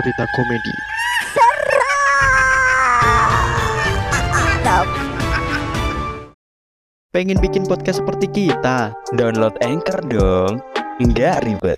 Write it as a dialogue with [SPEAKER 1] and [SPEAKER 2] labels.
[SPEAKER 1] cerita komedi. Pengen bikin podcast seperti kita?
[SPEAKER 2] Download Anchor dong. Nggak ribet.